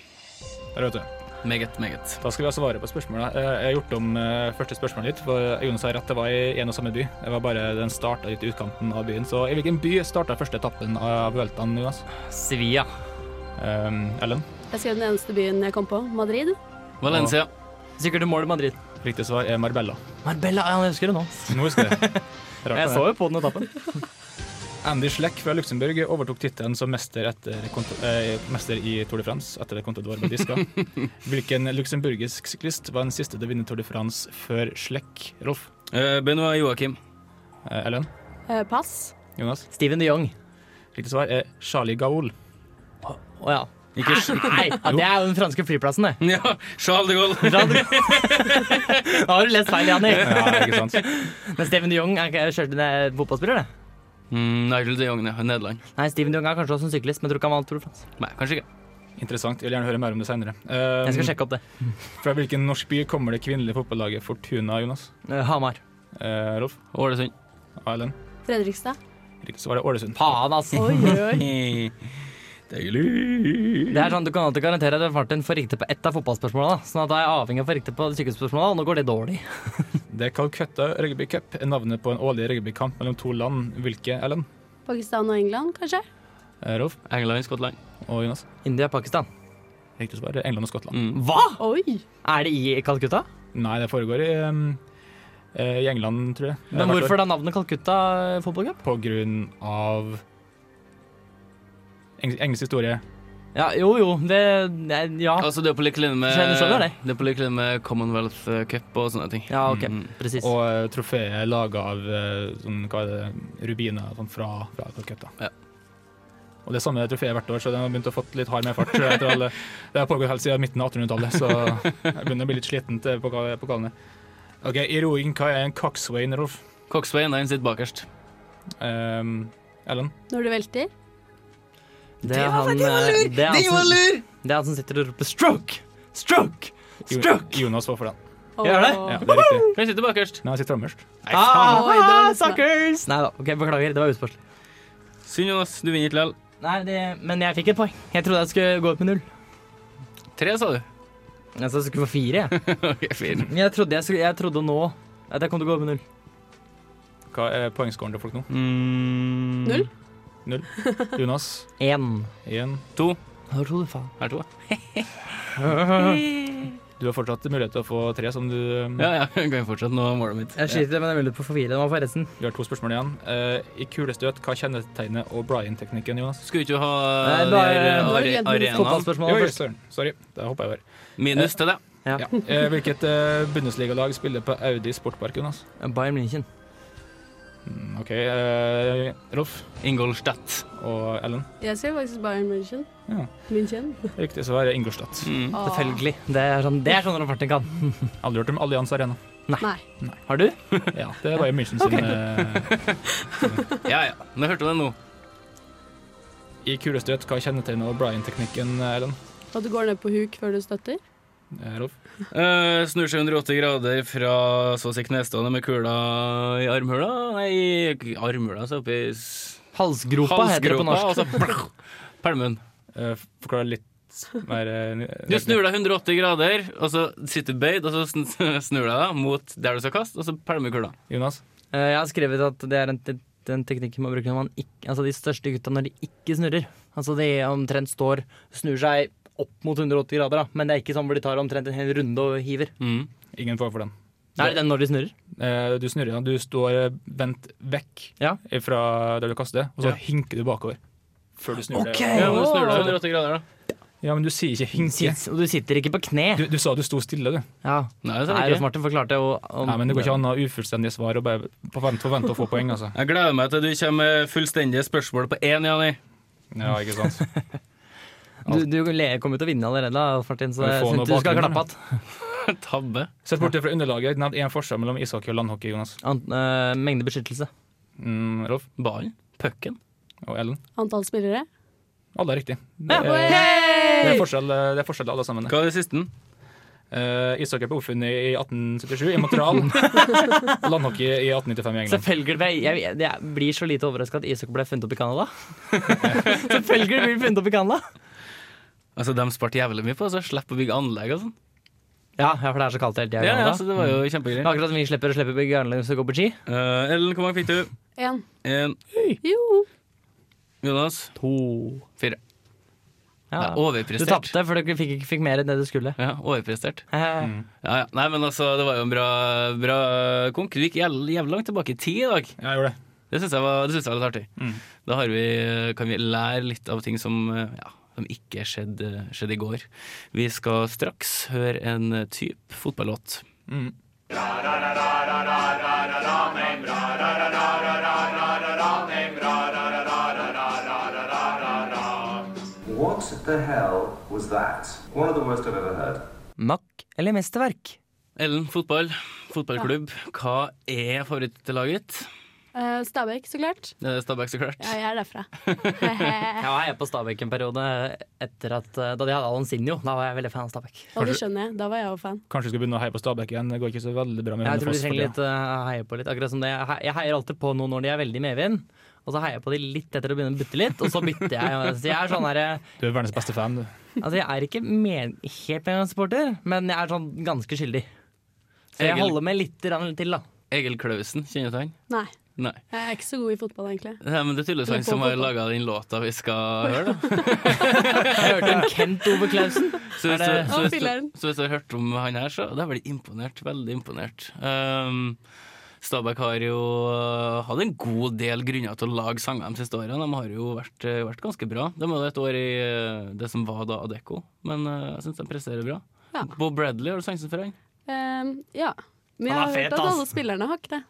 Der, vet du.
Meget, meget.
Da skal vi ha svaret på spørsmålet. Eh, Jeg har gjort om eh, første spørsmål litt, for Jonas har rett, det var i en og samme by. Det var bare den starta litt i utkanten av byen. Så i hvilken by starta første etappen av Vueltaen, Jonas?
Sevilla.
Um, Ellen?
Jeg skrev den eneste byen jeg kom på. Madrid.
Valencia.
Sikkert til mål i Madrid.
Riktig svar er Marbella.
Marbella, ja, jeg husker det nå.
Nå husker
[LAUGHS]
jeg det. Rart
Jeg
det.
så jo på den etappen.
Andy Schleck fra Luxembourg overtok tittelen som mester, etter, Cont- eh, mester i Tour de France etter det Contador ble diska.
[LAUGHS]
Hvilken luxemburgisk syklist var den siste til å vinne Tour de France før Schleck? Rolf?
Eh, Benoit Joakim.
Eh, Ellen?
Eh, pass.
Jonas?
Steven de Jong.
Riktig svar er Charlie Ah! Gaul.
Å ja.
Ikke
Nei, ja, det er jo den franske flyplassen,
[LAUGHS]
det.
[LAUGHS] Ja, Charles de Gaulle.
Da har du lest feil, Janni.
[LAUGHS] Ja, ikke sant?
Men Steven de Jong er ikke- kjørte ned fotballspiller, det.
[LAUGHS] Mm, Nigel de Jong, ja. Nederland.
Nei, Steven de Jong er kanskje også en syklist, men jeg tror ikke han vant Tour de France.
Nei, kanskje ikke.
Interessant. Jeg vil gjerne høre mer om det senere. Um,
Mm.
Jeg skal sjekke opp det.
Fra hvilken norsk by kommer det kvinnelige fotballaget Fortuna, Jonas?
Eh, Hamar.
Eh, Rolf?
[LAUGHS] Ålesund.
Og Ellen?
Fredrikstad.
Riktig svar er Ålesund.
Faen, ass.
Oi, oi, oi.
Det er sånn Du kan alltid garantere at Martin får riktig på ett av fotballspørsmålene. da. Sånn at da er jeg avhengig av å få riktig på sykehusspørsmålene, og nå går det dårlig.
Det er Calcutta Rugby Cup, er navnet på en årlig rugbykamp mellom to land. Hvilke, Ellen?
Pakistan og England, kanskje?
Eh, Rolf?
England, Skottland.
Og Jonas?
India, Pakistan.
Riktig svar
Mm.
er England og Skottland.
Hva?!
Oi!
Er det i Calcutta?
Nei, det foregår i um, eh, i England, tror jeg.
Men hvorfor da navnet Calcutta Football Cup?
På grunn av eng engelsk historie.
Ja, jo, jo, det nei, Ja,
Altså, det er på lik linje med,
Skjønner- skjønner det.
det er på lik linje med Commonwealth eh, Cup og sånne ting.
ja OK.
Mm.
Presis.
Og eh, trofeet er laga av eh, sånn, hva er det, rubiner sånn, fra, fra Calcutta.
Ja.
Og det er samme trofeet hvert år, så den har begynt å få litt hard medfart. tror jeg, etter
[LAUGHS]
alle- Det har pågått helt siden midten av 1800-tallet, så jeg begynner å bli litt sliten til poka- pokalene. OK, i roing, hva er en coxswain, Rolf?
Coxway den sitter bakerst.
Um, Ellen?
Når du velter?
Det er han eh, Det er han som- det er han som sitter og roper 'stroke'! Stroke!
Jo-
Stroke!
Jonas var for den.
Gjør det?
Åh.
Ja, det er riktig.
Den sitter bakerst.
Nei, han sitter fremmest.
Ah,
Oi, det var nesten-
suckers! Nei da, ok, beklager. Det var utspørsel.
Synd, Jonas. Du vinner ikke likevel.
Nei, det, men jeg fikk et poeng. Jeg trodde jeg skulle gå ut med null.
Tre, sa du. [LAUGHS]
Jeg sa jeg skulle få fire, jeg.
ok, fire.
Men [LAUGHS] jeg trodde, jeg skulle, jeg trodde nå at jeg kom til å gå ut med null.
Hva er poengscoren til folk
[LAUGHS]
nå?
Mm.
Null?
Jonas?
Én.
Én.
Hva tror du faen?
Her to, ja.
Du har fortsatt mulighet til å få tre, som du ehm,
Ja, ja, [LAUGHS] kan jeg fortsette nå målet mitt.
Jeg sliter med den muligheten på å få fire. Den var forresten.
Vi har to spørsmål igjen. Eh, I kulestøt, hva kjennetegner O'Brien-teknikken, Jonas?
Skulle ikke ha
Nei,
de
bare-
her eh,
Nå
har
are
vi glemt
arenaen.
Fotballspørsmålet først.
søren. Sorry, da hoppa jeg over.
Minus til det.
Ja. Eh, Hvilket eh, bundesligalag spiller på Audi Sportpark, Jonas?
Bayern München.
Mm, OK, eh, Rolf
Ingolstadt.
og Ellen.
Jeg ser faktisk Bayern München.
Ja.
München.
Riktig svar er Ingolstadt.
Mm.
Ah.
Åh.
Selvfølgelig. Det er sånn det er sånn Rolf Martin kan.
Aldri hørt om Allianz Arena.
Nei.
Har du?
[LAUGHS] Ja, det var jo München sin. eh,
Ja, ja. Nå hørte du det nå.
I kulestøt, hva kjennetegner O'Brien-teknikken, eh, Ellen?
At du går ned på huk før du støtter?
Eh, Rolf?
Eh, snur seg 180 grader fra så å si knestående med kula i armhula. Nei, ikke i armhula, så oppi s-
Halsgropa heter det på norsk.
og så blå, pælmen.
Eh, forklar litt mer eh,
Du snur deg 180 grader, og så sitter du bøyd, og så sn- [LAUGHS] snur du deg da mot der du skal kaste, og så pælmer kula.
Jonas?
Eh, Jeg har skrevet at det er en, te- den teknikken man bruker når man ikke Altså de største gutta når de ikke snurrer. Altså de omtrent står Snur seg opp mot 180 grader, da. Men det er ikke sånn hvor de tar omtrent en hel runde og hiver.
Mm.
Ingen form for den.
Nei, det er når de snurrer.
Eh, Du snurrer, ja. du står eh, vendt vekk
Ja.
fra der du kaster, og så hinker du bakover. Før du snur deg.
Ja, nå snur du deg 180 grader, da.
Ja, men du sier ikke hinke.
Sits, og du sitter ikke på kne.
Du, du sa du sto stille, du.
Ja.
Nei, det sa
Nei,
jeg
Rolf
ikke.
Martin forklarte jo om
Nei, men det går ikke an å ha ufullstendige svar og bare forvente, forvente å få poeng, altså.
Jeg gleder meg til du kommer med fullstendige spørsmål på én, Jani.
Ja, ikke sant.
Du, du le- kom jo til å vinne allerede, da, Rolf Martin, så
Men
jeg
få
syns
noe
du skal
bakgrunn,
klappe att.
[LAUGHS] Tabbe.
Sett bort det fra underlaget. Nevn én forskjell mellom ishockey og landhockey, Jonas.
Ant- eh, Mengde beskyttelse.
Mm, Rolf
Ballen. Pucken.
og Ellen.
Antall spillere?
Alle er riktig. Det er,
Eh,
det er,
Hey!
forskjell, eh, det er forskjell alle sammen.
Hva er det siste?
Eh, ishockey ble oppfunnet i 1877 i Montreal. landhockey i 1895 i England.
Selvfølgelig ble jeg, jeg, jeg blir så lite overraska at ishockey ble funnet opp i Canada. [LAUGHS] Selvfølgelig blir det funnet opp i Canada!
Altså, De sparte jævlig mye på, så slipper å bygge anlegg og sånn.
Ja, ja, for det er så kaldt hele tida. i
Ja, Mm. ja,
Canada.
så det var jo kjempegøy.
Men akkurat som vi slipper å slippe bygge anlegg og gå på ski.
Eh, Ellen, hvor mange fikk du?
Én.
En.
Jo.
Jonas? To. Fire.
Ja.
Ja,
Du
overprestert.
tapte, for du fikk ikke fikk mer enn det du skulle.
Ja, overprestert.
Mm.
Ja, ja. Nei, men altså, det var jo en bra, bra konk. Du gikk jævlig, jævlig langt tilbake i tid i dag.
Ja, jeg gjorde det.
Det syns jeg, var- det synes jeg var litt artig.
Mm.
Da har vi, kan vi lære litt av ting som, eh, ja, som ikke skjedde, skjedde i går. Vi skal straks høre en type fotballåt.
Mm.
What the hell was that? One of the worst I've ever heard.
Makk eller mesterverk?
Ellen, fotball. Fotballklubb. Hva er favorittlaget ditt?
Eh, Stabæk, så klart.
Det er Stabæk, så klart.
Ja, jeg er derfra.
Jeg var her på Stabæk en periode etter at, eh, da de hadde Alan Sinjo. Da var jeg veldig fan av Stabæk.
Og det skjønner jeg. Da var jeg òg fan.
Kanskje vi skal begynne å heie på Stabæk igjen. Det går ikke så veldig bra med
Jeg tror de
Hønefoss for
trenger
tida.
litt eh, heie på litt. Akkurat som det. Jeg he- Jeg heier alltid på noen når de er veldig medvind. Og så heier jeg på de litt etter å begynne å butte litt, og så bytter
[LAUGHS]
jeg. Så jeg er sånn her, eh,
Du er verdens beste fan, du.
altså jeg er ikke men, helt Megan-supporter, men jeg er sånn ganske skyldig. Så jeg
Egil.
holder med litt grann til, da.
Egil Klausen, kjenner du til han?
Nei.
Nei.
Jeg er ikke så god i fotball, egentlig.
Nei, men det er tydeligvis han som har laga den låta vi skal
[LAUGHS]
høre, da.
Jeg hørte om Kent Ove Klausen.
Så hvis,
Er det-
du, så,
Å,
hvis
filler'n.
du, så hvis du har hørt om han her, så da blir du imponert. Veldig imponert. Um, Stabæk har jo uh, hatt en god del grunner til å lage sanger de siste årene. De har jo vært, uh, vært ganske bra. De hadde et år i uh, det som var da Adecco, men uh, jeg syns de presterer bra.
Ja.
Bob Bradley, har du sansen for han?
Ehm, ja. Men jeg
Han
har
er
hørt
fet,
at
ass.
alle spillerne har ikke det.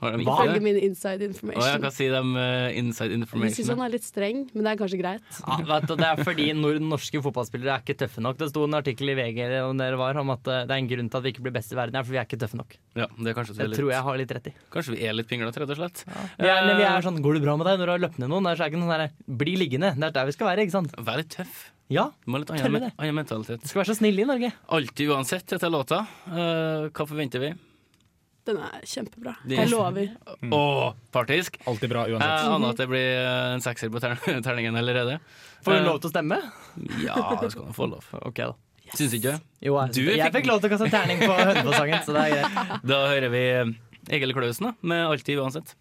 Har de ikke
Ifølge
det?
min
Å,
inside
jeg
information.
kan si dem uh, inside
sånn,
Jeg syns han
information.
er litt streng, men det er kanskje greit.
Ja, vet du, det er fordi nor norske fotballspillere er ikke tøffe nok. Det sto en artikkel i VG om dere var om at eh, det er en grunn til at vi ikke blir best i verden, er fordi vi er ikke tøffe nok.
Ja, det er kanskje, vi
Det
er
tror jeg
litt,
har litt rett i.
kanskje vi er litt pinglete, rett og slett.
Vi er, vi er sånn 'går det bra med deg' når du har løpt ned noen. Det er så er ikke noe sånn der, 'bli liggende'. Det er der vi skal være, ikke sant?
Vær litt tøff.
Ja.
Du må ha litt
Tøller
annen,
det.
annen mentalitet.
Vi skal være så snille i Norge.
Alltid uansett etter låta. Eh, hva forventer vi?
Den er kjempebra.
Det-
Jeg lover.
Mm.
Å, partisk!
Alltid bra
Jeg
uansett.
Mhm.
aner at det blir eh, en sekser på ter [LAUGHS] terningen allerede.
Får
Eh,
du lov til å stemme?
Ja, du skal nå få lov.
[LAUGHS] Ok, da.
Syns ikke du?
Jo, jeg,
Du
jeg
fikk-
fikk lov til å kaste terning
[LAUGHS]
på Hønefoss-sangen, så det er greit.
Da hører vi eh, Egil Klausen da, med 'Alltid uansett'.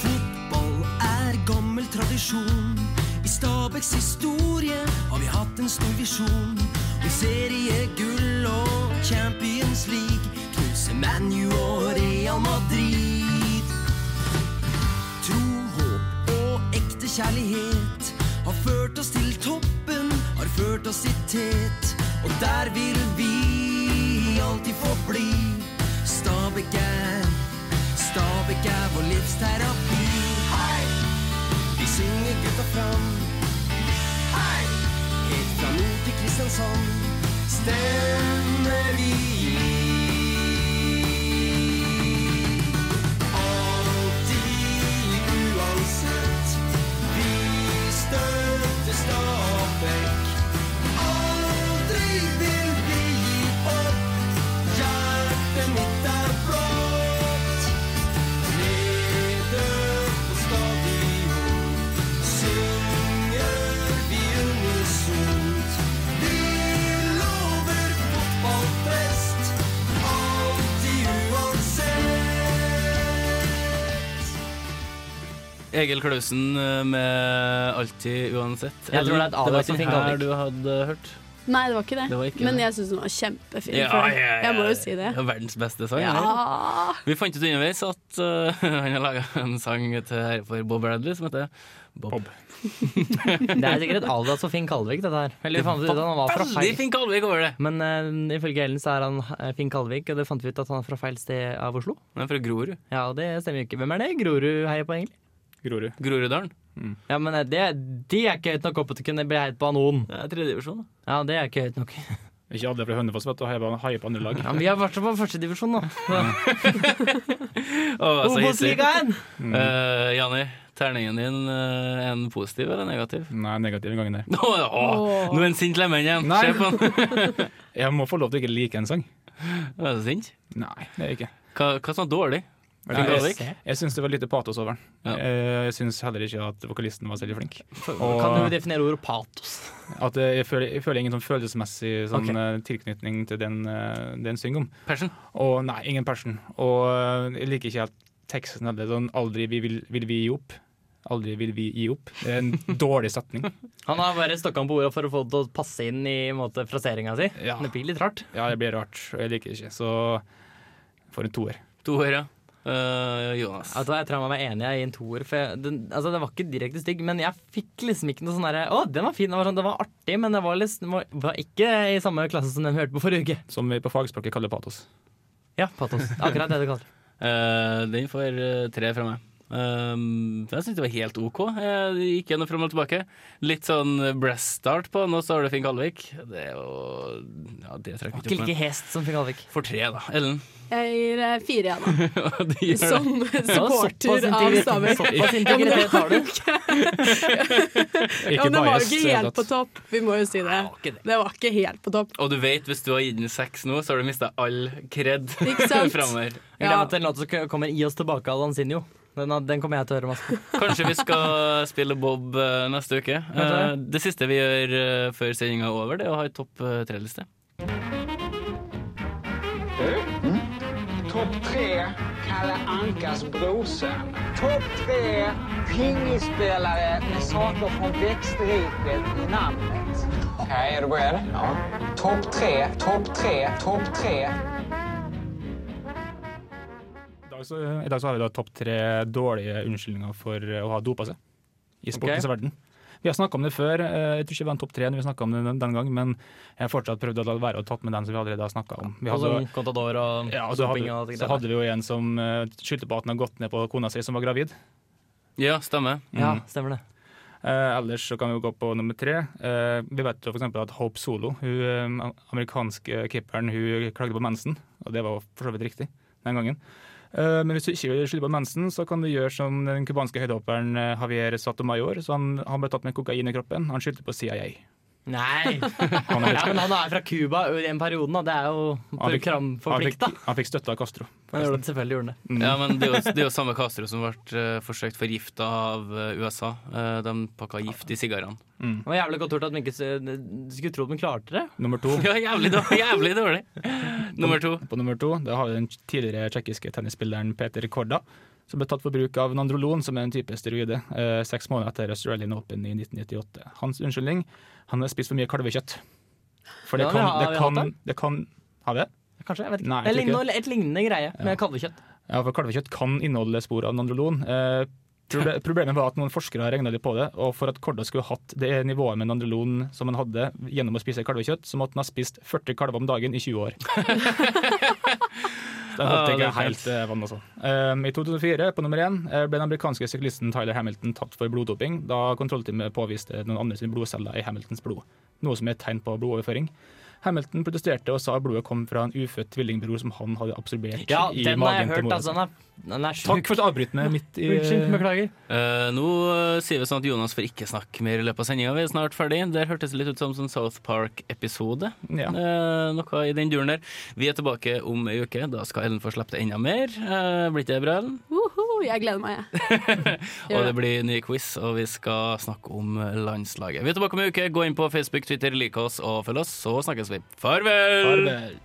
Fotball er gammel tradisjon. I Stabæks historie har vi hatt en stor visjon. Om seriegull og Champions League. Knuse ManU og Real Madrid. Tro, håp og ekte kjærlighet har ført oss til toppen, har ført oss i tet. Og der vil vi alltid få bli. Stabæk er Stabæk er vår livsterapi. Hei! Vi synger gutta fram. Hei! Helt fra nord til Kristiansand stemmer vi gir. Alltid uansett. Vi støtter Stabæk. Aldri vil vi gi opp. Hjertet mitt er blått. Nede på stadion synger vi unisont. Vi lover fotballfest, alltid uansett.
Egil Klausen eh, med 'Alltid uansett'.
Jeg tror det er et
Ellen,
A-lag som
ikke
fikk
den her
avbrekk.
du hadde hørt.
Nei, det var ikke det.
Det var ikke
men
det.
jeg syns den var kjempefin. for det. Jeg må jo si det.
Ja, Verdens beste sang. det her.
Ja.
Vi fant ut underveis at eh, [LAUGHS] han har laga en sang til her for Bob Bradley som heter Bob.
Det er sikkert et alias for Finn Kalvik, dette her. Eller vi fant ut at han var fra
Veldig
feil.
fin Kalvik over det!
Men eh, ifølge Ellen så er han eh, Finn Kalvik, og det fant vi ut at han er fra feil sted av Oslo.
Han er fra Grorud.
Ja, og det stemmer jo ikke. Hvem er det Grorud heier på, egentlig?
Grorud.
Groruddalen.
Ja, men eh, det, de er ikke høyt nok oppe til å kunne bli heit på av noen.
Det er tredjedivisjon, da.
Ja, det er ikke høyt nok.
Ikke alle fra Hønefoss, vet du. Heier på- Heier på andre lag.
Ja, men vi har vært på førstedivisjon nå.
Å, jeg er så hissig.
Obos-ligaen!
Eh, Jani, terningen din eh, er den positiv eller negativ?
Nei, negativ gangen der.
Nå å, nå er han sint lemen igjen!
Nei.
Se på han! [LAUGHS]
Jeg må få lov til å ikke like en sang.
Er du sint?
Nei, det er jeg ikke.
Hva, hva som er dårlig?
Jeg,
Kalvik?
jeg, jeg syns det var lite patos over den.
Ja.
Eh, Jeg syns heller ikke at vokalisten var så veldig flink. Og-
Kan du definere ordet patos?
At eh, jeg føler, jeg føler ingen sånn følelsesmessig sånn,
Ok.
eh, tilknytning til den, eh, den synger om.
Passion?
Og nei, ingen passion. Og eh, jeg liker ikke helt teksten heller. Sånn 'aldri vi vil, vil vi gi opp'. Aldri vil vi gi opp. Det er en dårlig setning.
Han har bare stokka om på orda for å få det til å passe inn i en måte, fraseringa si.
Ja.
Det blir litt rart.
Ja, det blir rart, og jeg liker det ikke. Så for en toer.
To øre. Eh, Jonas.
Vet du hva, Jeg tror jeg må være enig i en toer. For jeg, den, altså, den var ikke direkte stygg, men jeg fikk liksom ikke noe sånn derre Å, den var fin. Den var, sånn, den var artig, men den var, liksom, var- var ikke i samme klasse som den vi hørte på forrige uke.
Som vi på fagspråket kaller patos.
Ja, patos. Akkurat det du kaller det.
Eh, den får eh, tre fra meg. Um, jeg syns det var helt OK. Jeg gikk gjennom fram og tilbake. Litt sånn breast-start på den, og så har du Finn Kalvik. Det er jo Ja, det trekker
Ikke
ikke opp.
like
men-
hest som Finn Kalvik.
For tre, da. Ellen. [LAUGHS]
Jeg gir eh, fire, jeg, da.
det gjør det.
Som
Ja,
supporter
såpass
av
integritet-
Stabæk.
Såpass integritet har du.
ikke Ja, men det var jo
biased,
ikke helt
at-
på topp, vi må jo si det. Det var ikke helt på topp.
Og du vet, hvis du har gitt den seks nå, så har du mista all kred [LAUGHS]
Ikke sant?
framover.
Jeg
Ja.
glemte en låt som kommer i oss tilbake av Lanzinho. Den, den kommer jeg til å høre masse på.
Kanskje vi skal spille Bob eh, neste uke. Eh, Det siste vi gjør eh, før sendinga er over, det er å ha ei topp eh, tre-liste.
Topp tre Kalle Ankas brorsa. Topp tre pingisspelare med saker från växtriket i namnet. Okej, är du beredd? Ja. Topp tre, topp tre, topp tre.
I dag, så, I dag så har vi da topp tre dårlige unnskyldninger for eh, å ha dopa seg i sportens
Ok.
verden. Vi har snakka om det før, eh, jeg tror ikke det var en topp tre når vi snakket om det den, den gang, men jeg har fortsatt prøvd å la være å tatt med den som vi allerede har snakka om. [LAUGHS] Vi
Og
hadde,
sånn Contador og
ja, og så,
doping og
hadde,
ting
så hadde vi jo en som eh, skyldte på at han hadde gått ned på kona si som var gravid.
Ja, stemmer.
Ja,
Mm.
stemmer det.
Eh, ellers så kan vi jo gå på nummer tre. Eh, vi vet jo f.eks. at Hope Solo, hun eh, amerikanske keeperen, hun klagde på mensen. Og det var jo for så vidt riktig den gangen. Eh, men hvis du ikke vil skylde på mensen, så kan du gjøre som den cubanske høydehopperen eh, Javier Sotomayor. Så han, han ble tatt med kokain i kroppen. Han skyldte på CIA.
[LAUGHS] Nei!
Han er
Ja, men han er fra Cuba i den perioden, da. Det er
Han
jo
fikk- han fikk,
kramforplikta.
han fikk støtte av Castro.
Men det gjorde det selvfølgelig gjorde han det.
Ja, men det er jo, det er jo samme Castro som ble eh, forsøkt forgifta av eh, USA. Eh, De pakka gift i sigarene. [LAUGHS]
Det var jævlig godt gjort at de ikke s- skulle tro at de klarte det.
Nummer to.
Ja, jævlig dårlig. Jævlig dårlig. Nummer to.
På nummer to da har vi den tidligere tsjekkiske tennisspilleren Peter Korda, som ble tatt for bruk av nandrolon, som er en type steroide, eh, seks måneder etter Australian Open i 1998. Hans unnskyldning han har spist for mye kalvekjøtt. For det
Ja, vi
kan,
har-
det
vi har hatt
kan, det kan Har vi det?
Kanskje, jeg vet ikke.
Nei, jeg
det
tror ikke
ligner et lignende greie med kalvekjøtt.
Ja, for kalvekjøtt kan inneholde spor av nandrolon. Eh,
[LAUGHS]
proble- Problemet var at noen forskere regna litt på det, og for at Korda skulle hatt det nivået med nandrolon som han hadde gjennom å spise kalvekjøtt, så måtte han ha spist 40 kalver om dagen i
[LAUGHS]
20 år. Den holdt
Ah, det
ikke
er
helt eh, vann, altså. Um, I 2004, på nummer én, eh, ble den amerikanske syklisten Tyler Hamilton tatt for bloddoping da kontrollteamet påviste noen andre sine blodceller i Hamiltons blod, noe som er et tegn på blodoverføring. Hamilton protesterte og sa at blodet kom fra en ufødt tvillingbror som han hadde absorbert
Ja,
i
den har jeg
magen til
hørt.
mora si.
Altså, den er, den er
Takk
sjuk.
for at du avbryter meg midt i eh,
Unnskyld, beklager.
Eh, nå eh, sier vi sånn at Jonas får ikke snakke mer i løpet av sendinga. Vi er snart ferdig. Der hørtes det litt ut som en South Park-episode.
Ja.
Eh, noe i den duren der. Vi er tilbake om ei uke. Da skal Ellen få slippe til enda mer. Eh, blir ikke det bra, Ellen?
Woho, jeg gleder meg, jeg.
Og det blir ny quiz, og vi skal snakke om eh, landslaget. Vi er tilbake om ei uke. Gå inn på Facebook, Twitter, lik oss og følg oss, så snakkes vi. Farvel!
Farvel.